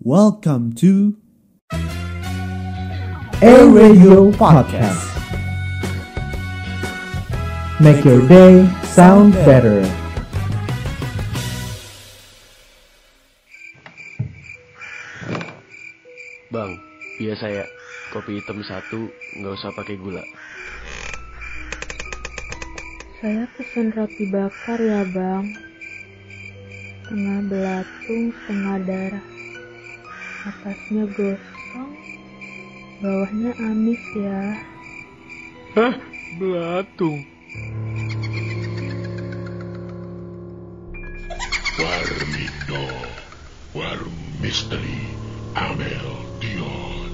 Welcome to A Radio Podcast. Make your day sound better. Bang, biasa ya. Kopi hitam satu, nggak usah pakai gula. Saya pesen roti bakar ya bang Tengah belatung, setengah darah Atasnya gosong Bawahnya amis ya Hah? Belatung. Warmito, Warm Mystery, Amel Dion.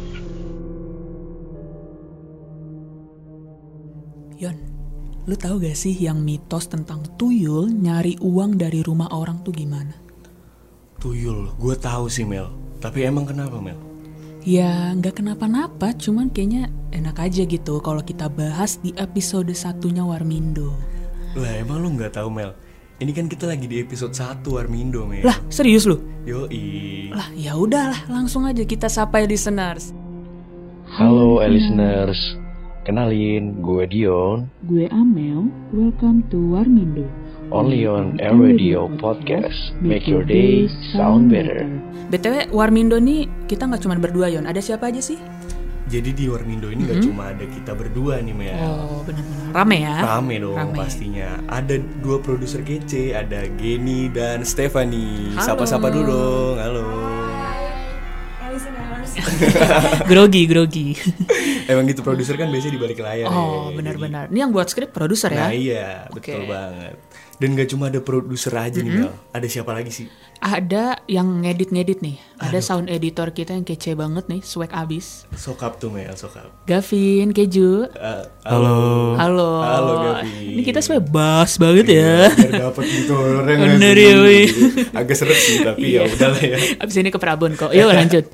Yon, lu tahu gak sih yang mitos tentang tuyul nyari uang dari rumah orang tuh gimana? Tuyul, gue tahu sih Mel. Tapi emang kenapa Mel? Ya, nggak kenapa-napa, cuman kayaknya enak aja gitu kalau kita bahas di episode satunya Warmindo. Lah emang lu nggak tahu Mel? Ini kan kita lagi di episode 1 Warmindo Mel. Lah, serius lu? Yoi. Lah, ya udahlah, langsung aja kita sapa listeners. Halo, eh, listeners. Kenalin, gue Dion. Gue Amel, welcome to Warmindo. Only on Air Radio Podcast. Make your day sound better. BTW, Warmindo nih kita nggak cuman berdua, Yon. Ada siapa aja sih? Eh. Jadi di Warmindo ini nggak cuma ada kita berdua nih Mel. Mm-hmm. Oh, benar-benar rame ya. Rame dong Rame. pastinya. Ada dua produser kece, ada Geni dan Stephanie. Halo. Sapa-sapa dulu dong. Halo. grogi, grogi. Emang gitu produser kan biasanya di balik layar. oh, ya. benar-benar. Ini yang buat skrip produser ya. Nah iya, Oke. betul Mm-hmm. banget. Dan gak cuma ada produser aja nih Mel. Ada siapa lagi sih? Ada yang ngedit-ngedit nih. Ada sound editor kita yang kece banget nih, swag abis. Sokap tuh Mel, sokap. Gavin, Keju. Eh, halo. Halo. Halo, Gavin. Iya, Ini kita sebenarnya bas banget ya. Biar dapet gitu orang Bener ngasih ya, gitu. Wi. Agak seret sih tapi ya Iya. udahlah ya. Abis ini ke Prabon kok. Yuk lanjut.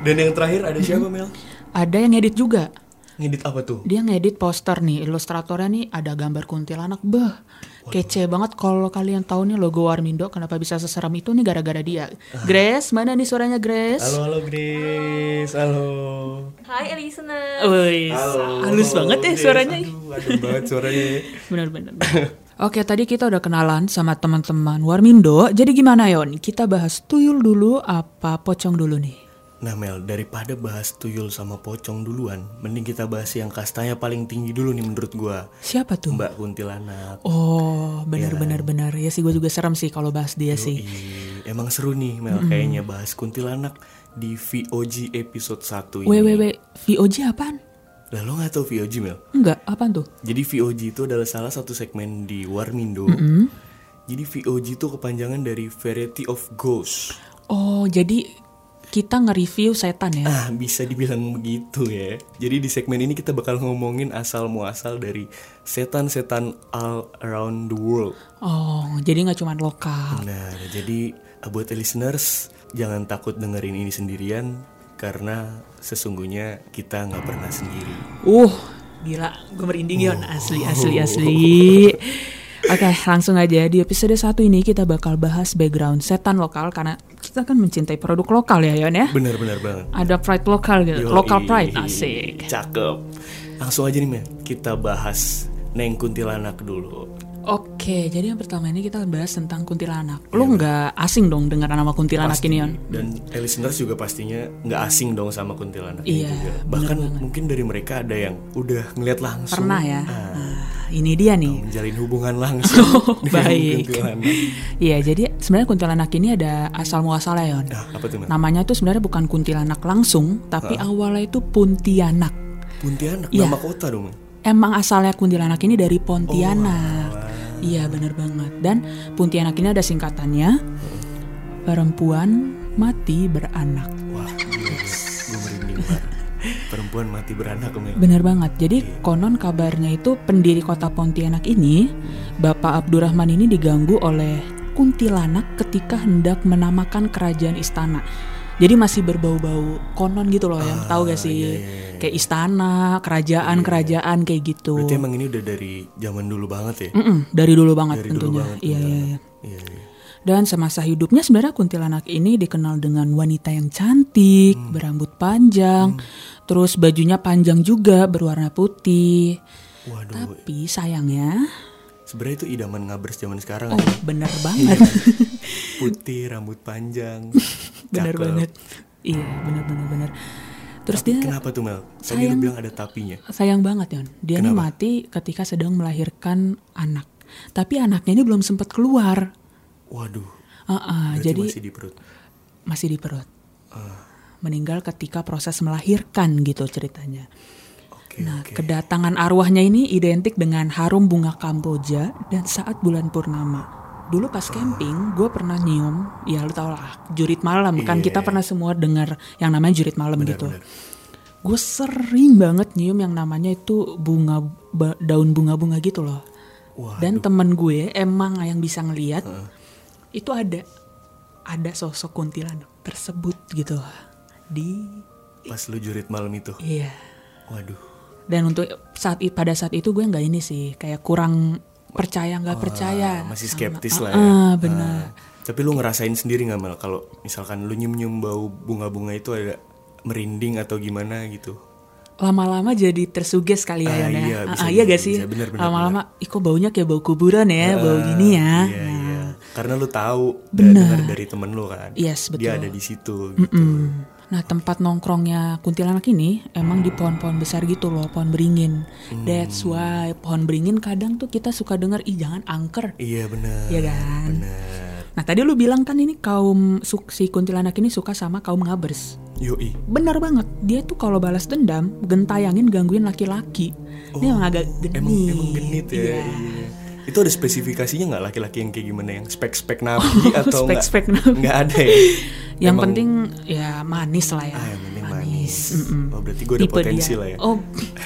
Dan yang terakhir ada siapa Mel? Ada yang ngedit juga. Ngedit apa tuh? Dia ngedit poster nih, ilustratornya nih ada gambar kuntilanak. Bah, kece banget kalau kalian tahu nih logo Warmindo kenapa bisa seseram itu nih gara-gara dia. Grace, mana nih suaranya Ah. Halo Grace? halo Grace, halo. Hai listener. Wih, halus banget ya Grace. suaranya. Aduh, adem banget suaranya. Benar-benar. Oke, tadi kita udah kenalan sama teman-teman Warmindo. Jadi gimana, Yon? Kita bahas tuyul dulu apa pocong dulu nih? Nah Mel, daripada bahas tuyul sama pocong duluan, mending kita bahas yang kastanya paling tinggi dulu nih menurut gua. Siapa tuh? Mbak Iya. Kuntilanak. Oh, benar-benar benar. Ya sih gue juga serem sih kalau bahas dia sih. iya. Ih, Emang seru nih Mel kayaknya bahas Kuntilanak di VOG episode 1 ini. Weh, weh, weh. VOG apaan? Lah lo gak tau VOG Mel? Enggak, apaan tuh? Jadi VOG itu adalah salah satu segmen di Warmindo. Jadi VOG itu kepanjangan dari Variety of Ghosts. Oh, jadi kita nge-review setan ya? Ah, bisa dibilang begitu ya. Jadi di segmen ini kita bakal ngomongin asal muasal dari setan-setan all around the world. Oh, jadi nggak cuma lokal. Nah, jadi buat listeners jangan takut dengerin ini sendirian karena sesungguhnya kita nggak pernah sendiri. Uh, gila. Gue merinding, Yon. Asli, asli, asli. Oke, langsung aja. Di episode satu ini kita bakal bahas background setan lokal karena kita kan mencintai produk lokal ya, Yon ya? Benar-benar banget. Ada pride lokal gitu. Yoi. Local pride, asik. Cakep. Langsung aja nih men, kita bahas Neng Kuntilanak dulu. Oke, jadi yang pertama ini kita bahas tentang kuntilanak. Lu nggak asing dong dengar nama kuntilanak ini, Yon? Dan eh, listeners juga pastinya nggak asing dong sama Kuntilanak Iya, ini juga. bener Bahkan mungkin dari mereka ada yang udah ngeliat langsung. Pernah ya? ah, Nah, ini dia nih. menjalin hubungan langsung dengan Oh, Baik. Kuntilanak. Iya, jadi sebenarnya kuntilanak ini ada asal muasalnya, Yon. Nah, apa tuh? Nah, Namanya tuh sebenarnya bukan kuntilanak langsung, tapi awalnya itu Pontianak. Pontianak Iya. nama kota dong. Emang asalnya kuntilanak ini dari Oh, Pontianak. Iya, bener banget. Dan Pontianak ini ada singkatannya. Perempuan mati beranak. Wah, gila, gue merinding banget. Perempuan mati beranak Mel. Bener banget. Jadi Iya. konon kabarnya itu pendiri kota Pontianak ini, Bapak Abdurrahman ini diganggu oleh kuntilanak ketika hendak menamakan kerajaan istana. Jadi masih berbau-bau konon gitu loh, yang tahu Ah, gak iya, sih? Kayak istana, kerajaan-kerajaan kayak gitu. Berarti emang ini udah dari zaman dulu banget ya? Mm-mm, dari dulu banget Dari dulu tentunya. banget Iya, iya, kuntilanak. iya. Iya, iya. Dan semasa hidupnya sebenarnya kuntilanak ini dikenal dengan wanita yang cantik, Hmm. berambut panjang, terus bajunya panjang juga berwarna putih. Waduh, Tapi sayangnya, sebenarnya itu idaman ngabers zaman sekarang. oh ya. bener Iya banget, kan? Putih, rambut panjang. bener cakep. banget, iya bener bener bener. Terus Tapi dia kenapa tuh Mel? Tadi lu sayang. bilang ada tapinya. sayang banget Yon. Dia ini Kenapa? mati ketika sedang melahirkan anak. Tapi anaknya ini belum sempat keluar. Waduh, Ah, ah, berarti jadi masih di perut. Ah, masih di perut. Meninggal ketika proses melahirkan gitu ceritanya. Oke, Nah, oke. kedatangan arwahnya ini identik dengan harum bunga kamboja dan saat bulan purnama. Dulu pas camping, gue pernah nyium, ya lu tau lah, jurit malam kan kita pernah semua dengar yang namanya jurit malam gitu. Iya, benar. Gue sering banget nyium yang namanya itu bunga ba- daun bunga-bunga gitu loh. Waduh. Dan temen gue emang yang bisa ngeliat itu ada ada sosok kuntilanak tersebut gitu di Pas lu jurit malam itu. iya. Waduh. Dan untuk saat i- pada saat itu gue nggak ini sih, kayak kurang percaya nggak percaya. Ah, masih sama- skeptis Ah, lah ya. ah, benar. Ah, tapi lu ngerasain sendiri nggak Mel kalau misalkan lu nyium-nyium bau bunga-bunga itu ada merinding atau gimana gitu? Lama-lama jadi tersuges kali ya, Ah, Yon, ya. iya, Ah, bisa, ah, iya bisa, gak sih? bisa. Benar, benar, Lama-lama, ih kok baunya kayak bau kuburan ya, bau gini ya. Ah, Iya, iya. Karena lu tahu dan Benar. dengar dari temen lu kan. Yes, betul. Dia ada di situ gitu. Mm. Nah tempat nongkrongnya kuntilanak ini emang di pohon-pohon besar gitu loh, pohon beringin. Hmm. That's why pohon beringin kadang tuh kita suka dengar ih jangan angker. Iya benar. Iya kan? Benar. Nah tadi lu bilang kan ini kaum su- si kuntilanak ini suka sama kaum ngabers. Yoi. Bener banget, dia tuh kalau balas dendam gentayangin gangguin laki-laki. Dia emang agak genit. Oh, Emang emang genit ya. Iya. iya. Itu ada spesifikasinya nggak laki-laki yang kayak gimana yang spek-spek nabi atau nggak? Oh, spek-spek nabi. Nggak ada ya. Yang Emang- penting ya manis lah ya. Ah, yang penting manis. Mm-mm. Oh, berarti gue ada Tipe potensi dia. lah ya. Oh,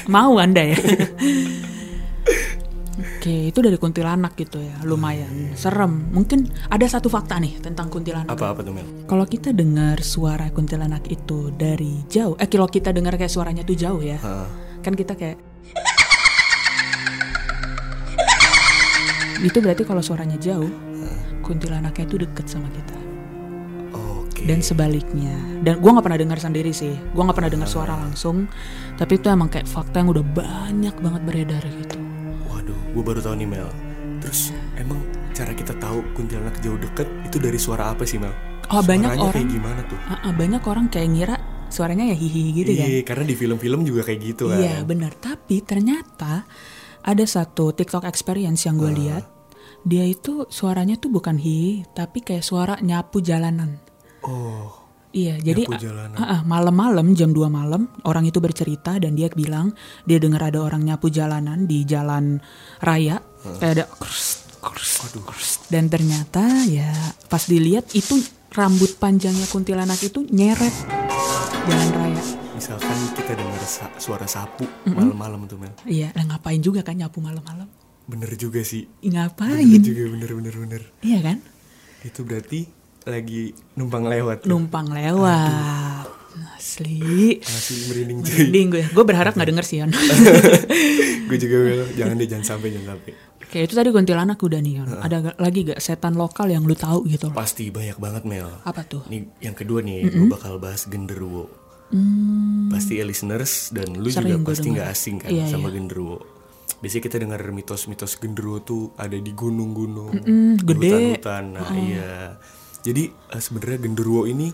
mau Anda ya. Oke, itu dari kuntilanak gitu ya. Ah, iya. Lumayan serem. Mungkin ada satu fakta nih tentang kuntilanak. Apa-apa tuh Mel? Kalau kita dengar suara kuntilanak itu dari jauh, eh kalau kita dengar kayak suaranya tuh jauh ya. Ah. Kan kita kayak Itu berarti kalau suaranya jauh, kuntilanaknya itu deket sama kita Oke. dan sebaliknya dan gua nggak pernah dengar sendiri sih gua nggak pernah dengar suara langsung tapi itu emang kayak fakta yang udah banyak banget beredar gitu Waduh, gue baru tahu nih Mel. Terus emang cara kita tahu kuntilanak jauh deket itu dari suara apa sih Mel? Oh, banyak Suaranya kayak orang- gimana tuh? Ah, ah, banyak orang kayak ngira suaranya ya hihi gitu kan Iya, karena di film-film juga kayak gitu kan. Iya benar. Tapi ternyata ada satu TikTok experience yang gue lihat. Dia itu suaranya tuh bukan hi, tapi kayak suara nyapu jalanan. Oh, Iya, jadi Nyapu jalanan. ah, ah, malam-malam jam 2 malam orang itu bercerita dan dia bilang dia dengar ada orang nyapu jalanan di jalan raya. Kayak ada krust, krust, krust. dan ternyata ya pas dilihat itu rambut panjangnya kuntilanak itu nyeret jalan raya. misalkan kita dengar sa- suara sapu malam-malam tuh Mel. Iya, nah ngapain juga kan nyapu malam-malam? Bener juga sih. Bener ngapain juga, bener bener bener. iya kan Itu berarti lagi numpang lewat. ya? numpang lewat asli Masih merinding cuy. merinding gue gue berharap nggak denger sih Yon gue juga Mel. Jangan deh, jangan sampai, jangan sampai. oke itu tadi kuntilanak udah nih Yon ada ga- lagi gak setan lokal yang lu tahu gitu loh Pasti banyak banget Mel. apa tuh Nih yang kedua nih, gue bakal bahas genderuwo. Pasti ya listeners dan lu Hmm. Sering juga gua pasti dengar. nggak asing kan Iya, sama iya. genderuwo. Biasanya kita dengar mitos-mitos genderuwo tuh ada di gunung-gunung, Mm-mm, di gede. hutan-hutan. Nah, iya. Jadi eh, sebenarnya genderuwo ini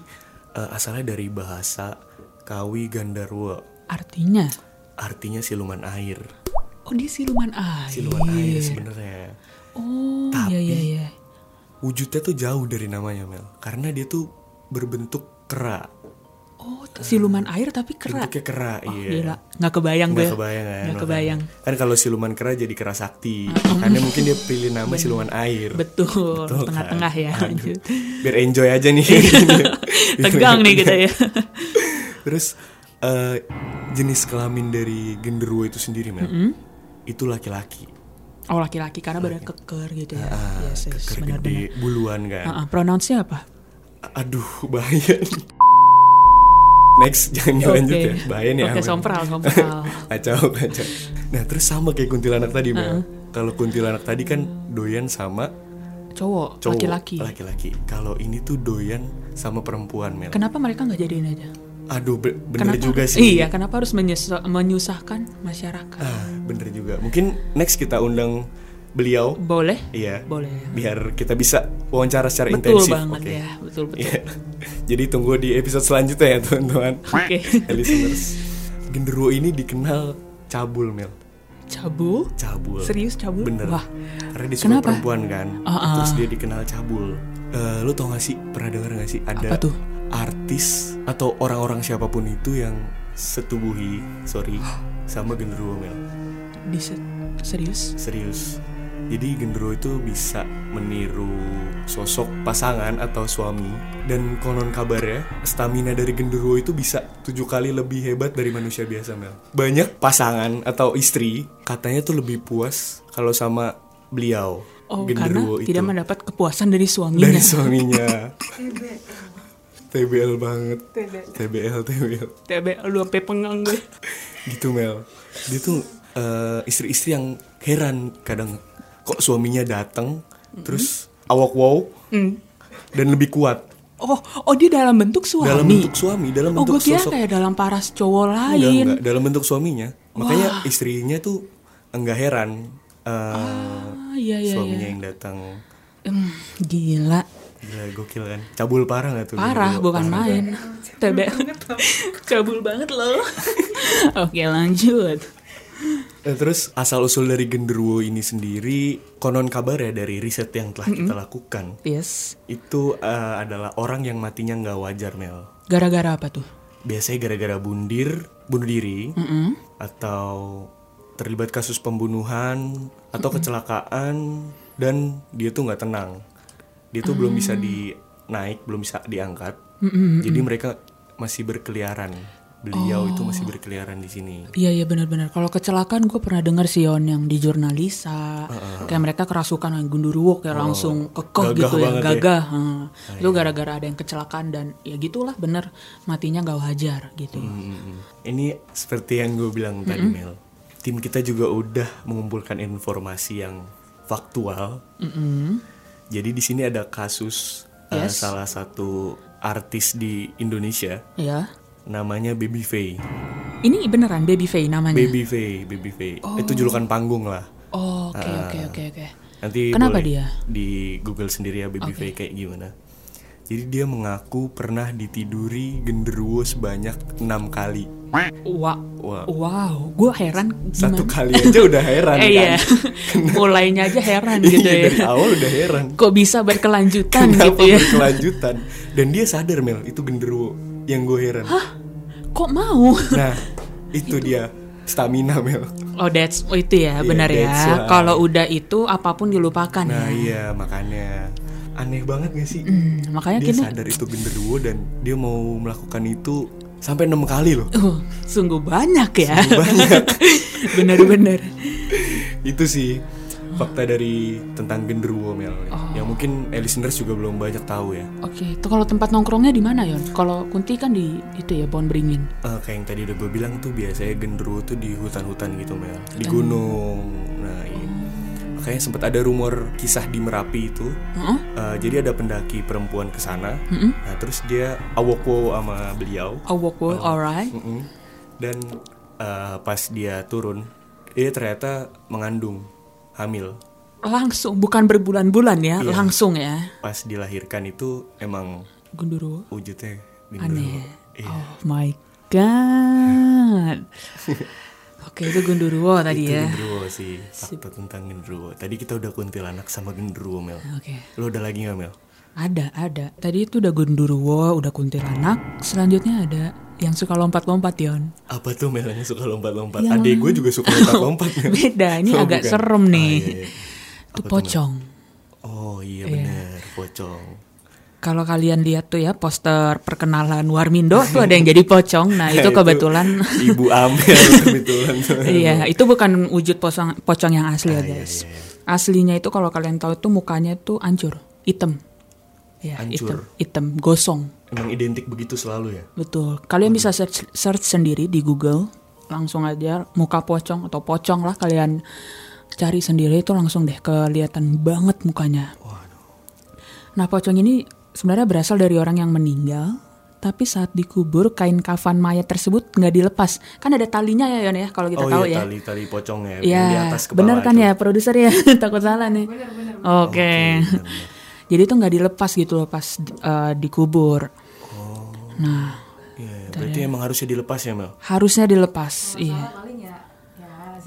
eh, asalnya dari bahasa Kawi Gandarwa, artinya artinya siluman air. oh dia siluman air Siluman air sebenarnya. oh Tapi- iya iya iya Wujudnya tuh jauh dari namanya Mel, karena dia tuh berbentuk kera. oh siluman air tapi kera Bentuknya kera, oh, iya. gila nggak kebayang gue Nggak kebayang kan nggak makanya. kebayang Ah, Kan kalau siluman kera jadi kera sakti Karena mungkin dia pilih nama siluman air betul Betul kan? tengah-tengah ya Aduh, lanjut Iya. Biar enjoy aja nih tegang nih kita ya Terus eh, jenis kelamin dari genderuwo itu sendiri Mel Itu laki-laki oh laki-laki karena badan keker gitu ya Ah, yes, yes, keker benar-benar gede, buluan kan Ah, ah, pronounce-nya apa? Aduh bahaya nih. Next jangan dilanjut Oke. ya Bahaya nih Oke, Ahmad. sompral, sompral. kacau kacau nah terus sama kayak kuntilanak tadi Mel kalau kuntilanak tadi kan doyan sama Cowok, Cowok, laki-laki. laki-laki. Kalau ini tuh doyan sama perempuan, Mel. Kenapa mereka nggak jadiin aja? Aduh, be- bener Kenapa- juga sih. Iya, kenapa harus menyesa- menyusahkan masyarakat? Ah, bener juga. Mungkin next kita undang beliau. Boleh? Iya. Boleh. Biar kita bisa wawancara Betul secara intensif. banget Oke. ya, betul betul. Iya. Jadi tunggu di episode selanjutnya ya, teman-teman. Oke. Listeners. Genderuwo ini dikenal cabul, Mel. Cabul? Cabul. Serius cabul? Bener. Wah. Karena dia suka Kenapa? perempuan kan. Ah, Terus ah. dia dikenal cabul. Eh, lo tau gak sih pernah denger gak sih ada Apa tuh? artis atau orang-orang siapapun itu yang setubuhi sorry sama genderuwo Mel Di se- serius? serius jadi genderuwo itu bisa meniru sosok pasangan atau suami dan konon kabarnya stamina dari genderuwo itu bisa tujuh kali lebih hebat dari manusia biasa Mel banyak pasangan atau istri katanya tuh lebih puas kalau sama beliau Oh, karena genderuwo itu tidak mendapat kepuasan dari suaminya. dari suaminya TBL banget TBL TBL TB lu sampai pengang gue. gitu Mel dia tuh eh, istri-istri yang heran kadang kok suaminya datang terus awak wow Mm. dan lebih kuat Oh, oh dia dalam bentuk suami. dalam bentuk suami dalam oh, bentuk gue kira sosok kayak dalam paras cowok lain. enggak, enggak, dalam bentuk suaminya makanya istrinya tuh enggak heran eh, Ah, iya iya suaminya iya. yang datang Em, gila. gila gokil kan cabul parah nggak tuh Parah Gila, bukan parah, main. kan? TB cabul banget loh. Oke, lanjut. Nah, terus asal usul dari genderuwo ini sendiri konon kabar ya dari riset yang telah kita lakukan Yes. itu eh, adalah orang yang matinya nggak wajar Mel Gara-gara apa tuh? biasanya gara-gara bundir bunuh diri Hmm? atau terlibat kasus pembunuhan atau kecelakaan dan dia tuh nggak tenang dia tuh belum bisa dinaik belum bisa diangkat jadi mereka masih berkeliaran beliau itu masih berkeliaran di sini Iya iya benar-benar. Kalau kecelakaan gue pernah dengar sih Yon yang di jurnalisa, kayak mereka kerasukan yang gunduruwo kayak langsung kekeh Oh. Gagah gitu ya, banget ya. iya. gagah. Heeh. Itu gara-gara ada yang kecelakaan dan ya gitulah bener matinya gak wajar gitu. Hmm. Ini seperti yang gue bilang tadi Mel, tim kita juga udah mengumpulkan informasi yang faktual. Jadi di sini ada kasus eh, Yes. salah satu artis di Indonesia, Ya. namanya Baby Faye. Ini beneran Baby Faye namanya. Baby Faye, Baby Faye. Itu julukan panggung lah. Oh, Oke oke Ah. oke oke. Nanti Kenapa boleh dia? di Google sendiri ya Baby Faye kayak gimana. Jadi dia mengaku pernah ditiduri genderuwo sebanyak enam kali. Wah. Wah. Wow, gue heran gimana. Satu kali aja udah heran Eh, kan. iya. Mulainya aja heran gitu Iya, dari ya. awal udah heran. Kok bisa berkelanjutan Kenapa gitu ya? berkelanjutan? Dan dia sadar Mel, itu genderuwo yang gue heran. Kok mau? Nah, itu, dia stamina Mel. Nah, Oh that's oh, itu ya Iya, benar ya. that's why. Kalau udah itu apapun dilupakan ya. Nah iya makanya aneh banget gak sih? Hmm, makanya Dia kita sadar itu genderuwo dan dia mau melakukan itu sampai enam kali loh. uh, sungguh banyak ya. Banyak. Bener-bener. itu sih fakta dari tentang genderuwo Mel. Oh. Yang mungkin eh, listeners juga belum banyak tahu ya. Oke, itu kalau tempat nongkrongnya di mana Yon? Kalau Kunti kan di itu ya Pohon Beringin. Eh, kayak yang tadi udah gue bilang tuh biasanya genderuwo tuh di hutan-hutan gitu Mel di gunung nah iya. Hmm. makanya sempat ada rumor kisah di merapi itu Heeh. Eh, jadi ada pendaki perempuan ke sana Hmm? nah terus dia awoko sama beliau Awoko, Oh, Oh. alright. Mm-mm. dan eh, pas dia turun dia ternyata mengandung hamil Langsung bukan berbulan-bulan ya, Iya. langsung ya. pas dilahirkan itu emang Gunduru. wujudnya genderuwo Aneh. Iya. Oh my god. Oke, itu Gundurwo tadi itu ya. genderuwo sih fakta tentang genderuwo tadi kita udah kuntilanak sama genderuwo Mel Oke. Lo udah lagi gak Mel? Ada, ada. Tadi itu udah Gundurwo, udah Kuntilanak. Selanjutnya ada yang suka lompat-lompat, Yon. Apa tuh Mel yang suka lompat-lompat? Yang- Adek gue juga suka lompat-lompat Mel. Beda, ini Oh, agak bukan. serem nih. Ah, iya, iya. Itu Apa tuh, Mel? pocong. Oh iya bener, pocong Kalau kalian lihat tuh ya poster perkenalan Warmindo tuh ada yang jadi pocong. Nah, itu Itu kebetulan Ibu Amel kebetulan Iya, itu bukan wujud pocong pocong yang asli Ah, iya, ya, guys. Aslinya itu kalau kalian tahu tuh mukanya tuh ancur, hitam. Ya, hitam, Ancur. hitam, gosong. Emang identik begitu selalu ya? Betul. Kalian bisa search, search sendiri di Google, langsung aja muka pocong atau pocong lah kalian cari sendiri itu langsung deh kelihatan banget mukanya. Waduh Nah pocong ini sebenarnya berasal dari orang yang meninggal, tapi saat dikubur kain kafan mayat tersebut nggak dilepas. Kan ada talinya ya Yon ya kalau kita oh tahu iya ya. tali tali pocongnya Iya, yang di atas ke bener bawah kan itu. Iya, ya produser ya takut salah nih. Oke. Jadi itu nggak dilepas gitu loh pas eh, dikubur. Oh. Nah Iya, iya. berarti emang harusnya dilepas ya Mel harusnya dilepas. Iya.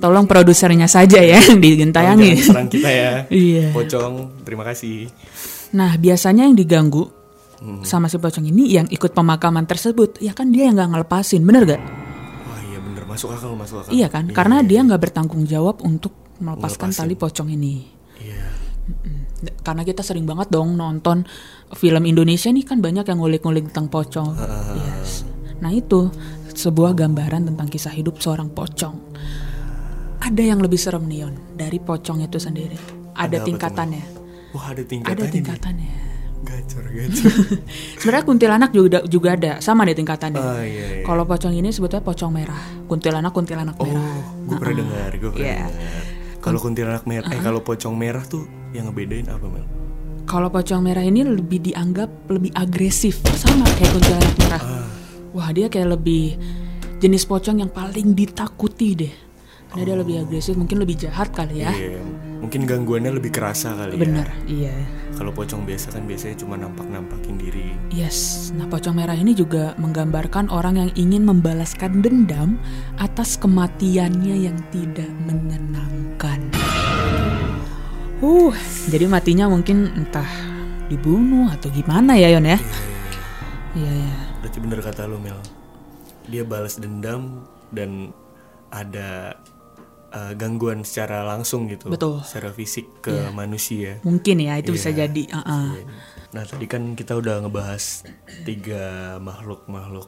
Tolong produsernya saja ya digentayangin. Jangan serang kita ya Iya. pocong terima kasih Nah, biasanya yang diganggu sama si pocong ini yang ikut pemakaman tersebut, ya kan dia yang nggak ngelepasin, bener gak? wah iya bener masuk akal masuk akal Iya kan? Karena dia nggak bertanggung jawab untuk melepaskan tali pocong ini. iya D- Karena kita sering banget dong nonton film Indonesia nih kan banyak yang ngulik-ngulik tentang pocong. Ah, Yes. Nah itu sebuah gambaran tentang kisah hidup seorang pocong. Ada yang lebih serem nih Yon dari pocong itu sendiri. Ada apa Ada tuh, tingkatannya. wah Ada ada tingkatannya nih. tingkatannya. gacor gacor Sebenarnya kuntilanak juga juga ada, sama deh tingkatannya. Ah, iya, iya. Kalau pocong ini sebetulnya pocong merah, kuntilanak kuntilanak merah. oh gue pernah dengar gue pernah Iya. Uh-huh. dengar kalau kuntilanak merah eh kalau pocong merah tuh yang ngebedain apa Mel Kalau pocong merah ini lebih dianggap lebih agresif, sama kayak kuntilanak merah. Wah dia kayak lebih jenis pocong yang paling ditakuti deh. Karena dia lebih agresif, mungkin lebih jahat kali ya. Iya, mungkin gangguannya lebih kerasa kali Bener, ya. iya. Kalau pocong biasa kan biasanya cuma nampak-nampakin diri. Yes, nah pocong merah ini juga menggambarkan orang yang ingin membalaskan dendam atas kematiannya yang tidak menyenangkan. Uh, jadi matinya mungkin entah dibunuh atau gimana ya Yon ya? Iya ya. Berarti bener kata lu Mel. Dia balas dendam dan ada eh, gangguan secara langsung gitu. Betul. Iya. Secara fisik ke manusia. Mungkin ya itu bisa Iya, jadi. uh-uh. Nah tadi kan kita udah ngebahas tiga makhluk-makhluk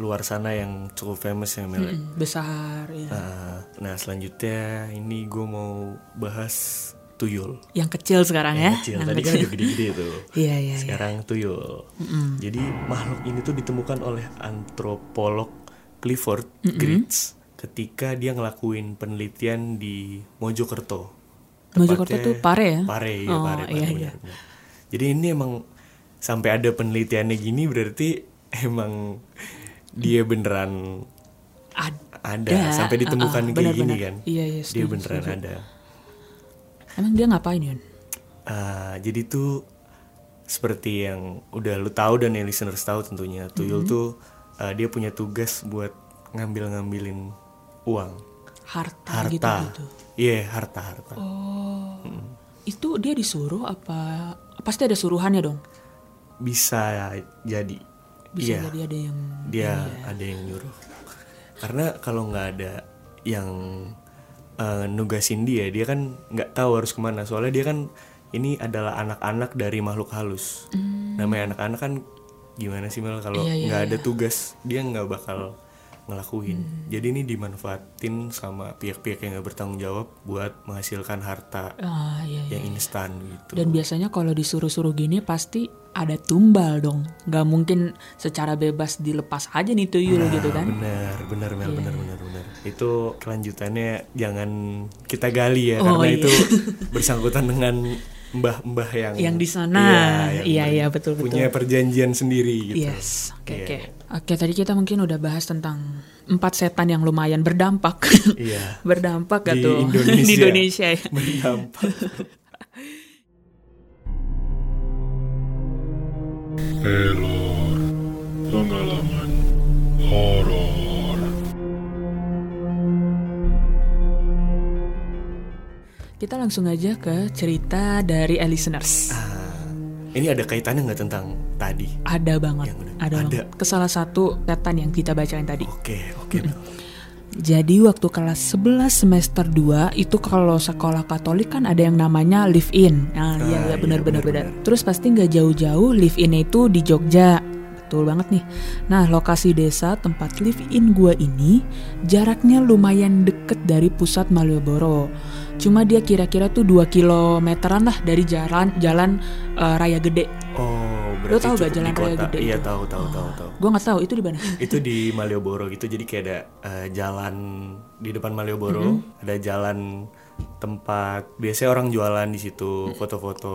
luar sana yang cukup famous ya Mel. ya? Mm, Besar. ya. Eh, nah selanjutnya ini gue mau bahas tuyul. Yang kecil sekarang Yang ya? kecil. Yang Tadi kan kecil. udah gede-gede tuh. Iya iya. iya. Sekarang tuyul. Jadi makhluk ini tuh ditemukan oleh antropolog Clifford Geertz ketika dia ngelakuin penelitian di Mojokerto. Mojokerto Tepatnya- tuh Pare ya? Pare, iya, Oh, Pare, Pare, iya, iya. benar-benar. Jadi ini emang sampai ada penelitiannya gini berarti emang dia beneran Ad- ada Ada, sampai uh-uh, ditemukan kayak gini benar-benar. kan. Iya, iya, dia setuju, beneran setuju. ada. Emang dia ngapain Yon? Ah, jadi tuh seperti yang udah lu tahu dan yang listeners tahu tentunya tuyul Mm-hmm. tuh ah, dia punya tugas buat ngambil-ngambilin uang Harta, harta gitu iya gitu. Oh. harta harta Itu dia disuruh apa? Pasti ada suruhannya dong. bisa jadi Bisa Iya, jadi ada yang Iya, dia ada yang nyuruh karena kalau nggak ada yang eh, nugasin dia dia kan nggak tahu harus kemana soalnya dia kan ini adalah anak-anak dari makhluk halus namanya anak-anak kan gimana sih Mel kalau Hmm. Iya, iya, nggak ada iya. Hmm. tugas dia nggak bakal ngelakuin jadi ini dimanfaatin sama pihak-pihak yang nggak bertanggung jawab buat menghasilkan harta Ah, iya, iya. yang instan gitu Dan biasanya kalau disuruh-suruh gini pasti ada tumbal dong. Gak mungkin secara bebas dilepas aja nih tuyul Nah, gitu kan. Iya. Benar, benar, Mel, benar, benar, benar. Itu kelanjutannya jangan kita gali ya, Oh, karena iya. itu bersangkutan dengan mbah-mbah yang Yang di sana. yang Iya, ber- iya, betul, betul. Punya perjanjian sendiri gitu. Yes, oke Iya. oke. Oke, tadi kita mungkin udah bahas tentang empat setan yang lumayan berdampak. Iya. berdampak gak Di tuh Indonesia. di Indonesia ya. Berdampak. Teror Pengalaman Horor Kita langsung aja ke cerita dari A listeners. Ah, ini ada kaitannya nggak tentang tadi? Ada banget, Yang udah- ada, ada. banget. Ke salah satu setan yang kita bacain tadi. Oke, oke, Mel. Jadi waktu kelas 11 semester 2 itu kalau sekolah Katolik kan ada yang namanya live in. Nah, iya iya benar benar benar. Terus pasti nggak jauh-jauh live in itu di Jogja. Betul banget nih. Nah, lokasi desa tempat live in gua ini jaraknya lumayan deket dari pusat Malioboro. Cuma dia kira-kira tuh 2 kilometeran lah dari jalan jalan eh, raya gede. Oh, berarti tahu nggak cukup Jalan di Raya kota. Gede Iya, itu? Oh. tahu, tahu, tahu, tahu. Gua nggak tahu itu di mana. itu di Malioboro gitu jadi kayak ada eh, jalan di depan Malioboro ada jalan tempat biasanya orang jualan di situ foto-foto.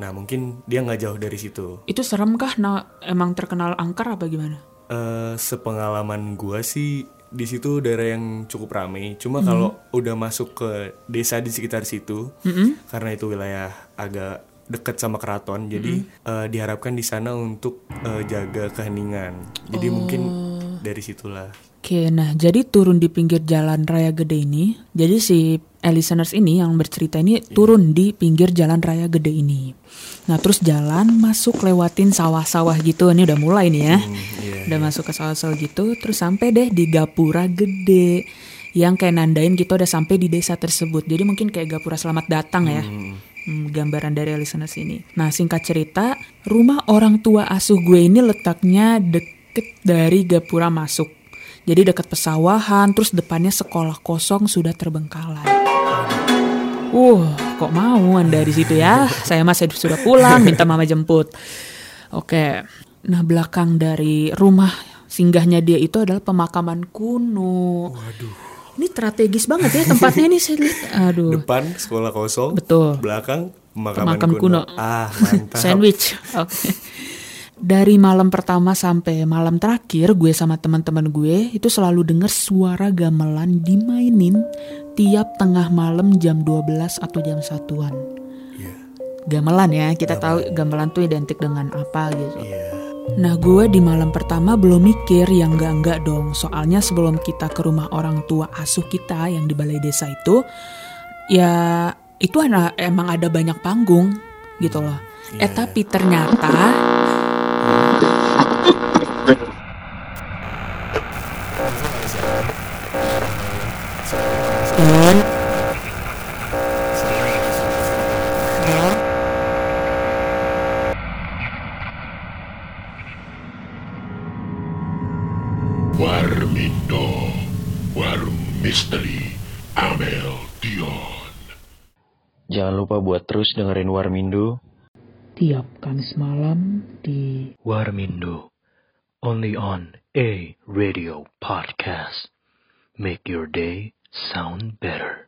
Nah mungkin dia nggak jauh dari situ. Itu serem kah? Nah, emang terkenal angker apa gimana? eh sepengalaman gua sih di situ daerah yang cukup ramai. Cuma kalau udah masuk ke desa di sekitar situ, karena itu wilayah agak dekat sama keraton, jadi eh, diharapkan di sana untuk eh, jaga keheningan. Jadi mungkin dari situlah. Oke, nah jadi turun di pinggir jalan raya gede ini. Jadi si eh, listeners ini yang bercerita ini turun di pinggir jalan raya gede ini. Nah terus jalan masuk lewatin sawah-sawah gitu. Ini udah mulai nih ya. Hmm, iya. Udah masuk ke sawah-sawah gitu. Terus sampai deh di gapura gede yang kayak nandain gitu udah sampai di desa tersebut. Jadi mungkin kayak gapura selamat datang ya. Hmm, gambaran dari listeners ini. Nah singkat cerita, rumah orang tua asuh gue ini letaknya deket dari gapura masuk. Jadi dekat pesawahan, terus depannya sekolah kosong sudah terbengkalai. Uh, kok mau anda di situ ya? Saya masih sudah pulang, minta mama jemput. Oke, nah belakang dari rumah singgahnya dia itu adalah pemakaman kuno. Waduh. Ini strategis banget ya tempatnya ini saya lihat. Aduh. Depan sekolah kosong, Betul. Belakang pemakaman Pemakaman kuno. kuno. Ah mantap. Sandwich. Oke. Dari malam pertama sampai malam terakhir, gue sama teman-teman gue itu selalu dengar suara gamelan dimainin tiap tengah malam jam 12 atau jam satuan. Iya. Gamelan ya, kita tahu gamelan tuh identik dengan apa gitu. Iya. Nah gue di malam pertama belum mikir yang enggak-enggak dong Soalnya sebelum kita ke rumah orang tua asuh kita yang di balai desa itu Ya itu ana- emang ada banyak panggung gitu loh Iya. Eh tapi ternyata Dan Dan- Warmindo, Warung Misteri, Amel Dion. Jangan lupa buat terus dengerin Warmindo. Tiap Kamis malam di Warmindo, only on a radio podcast. Make your day sound better.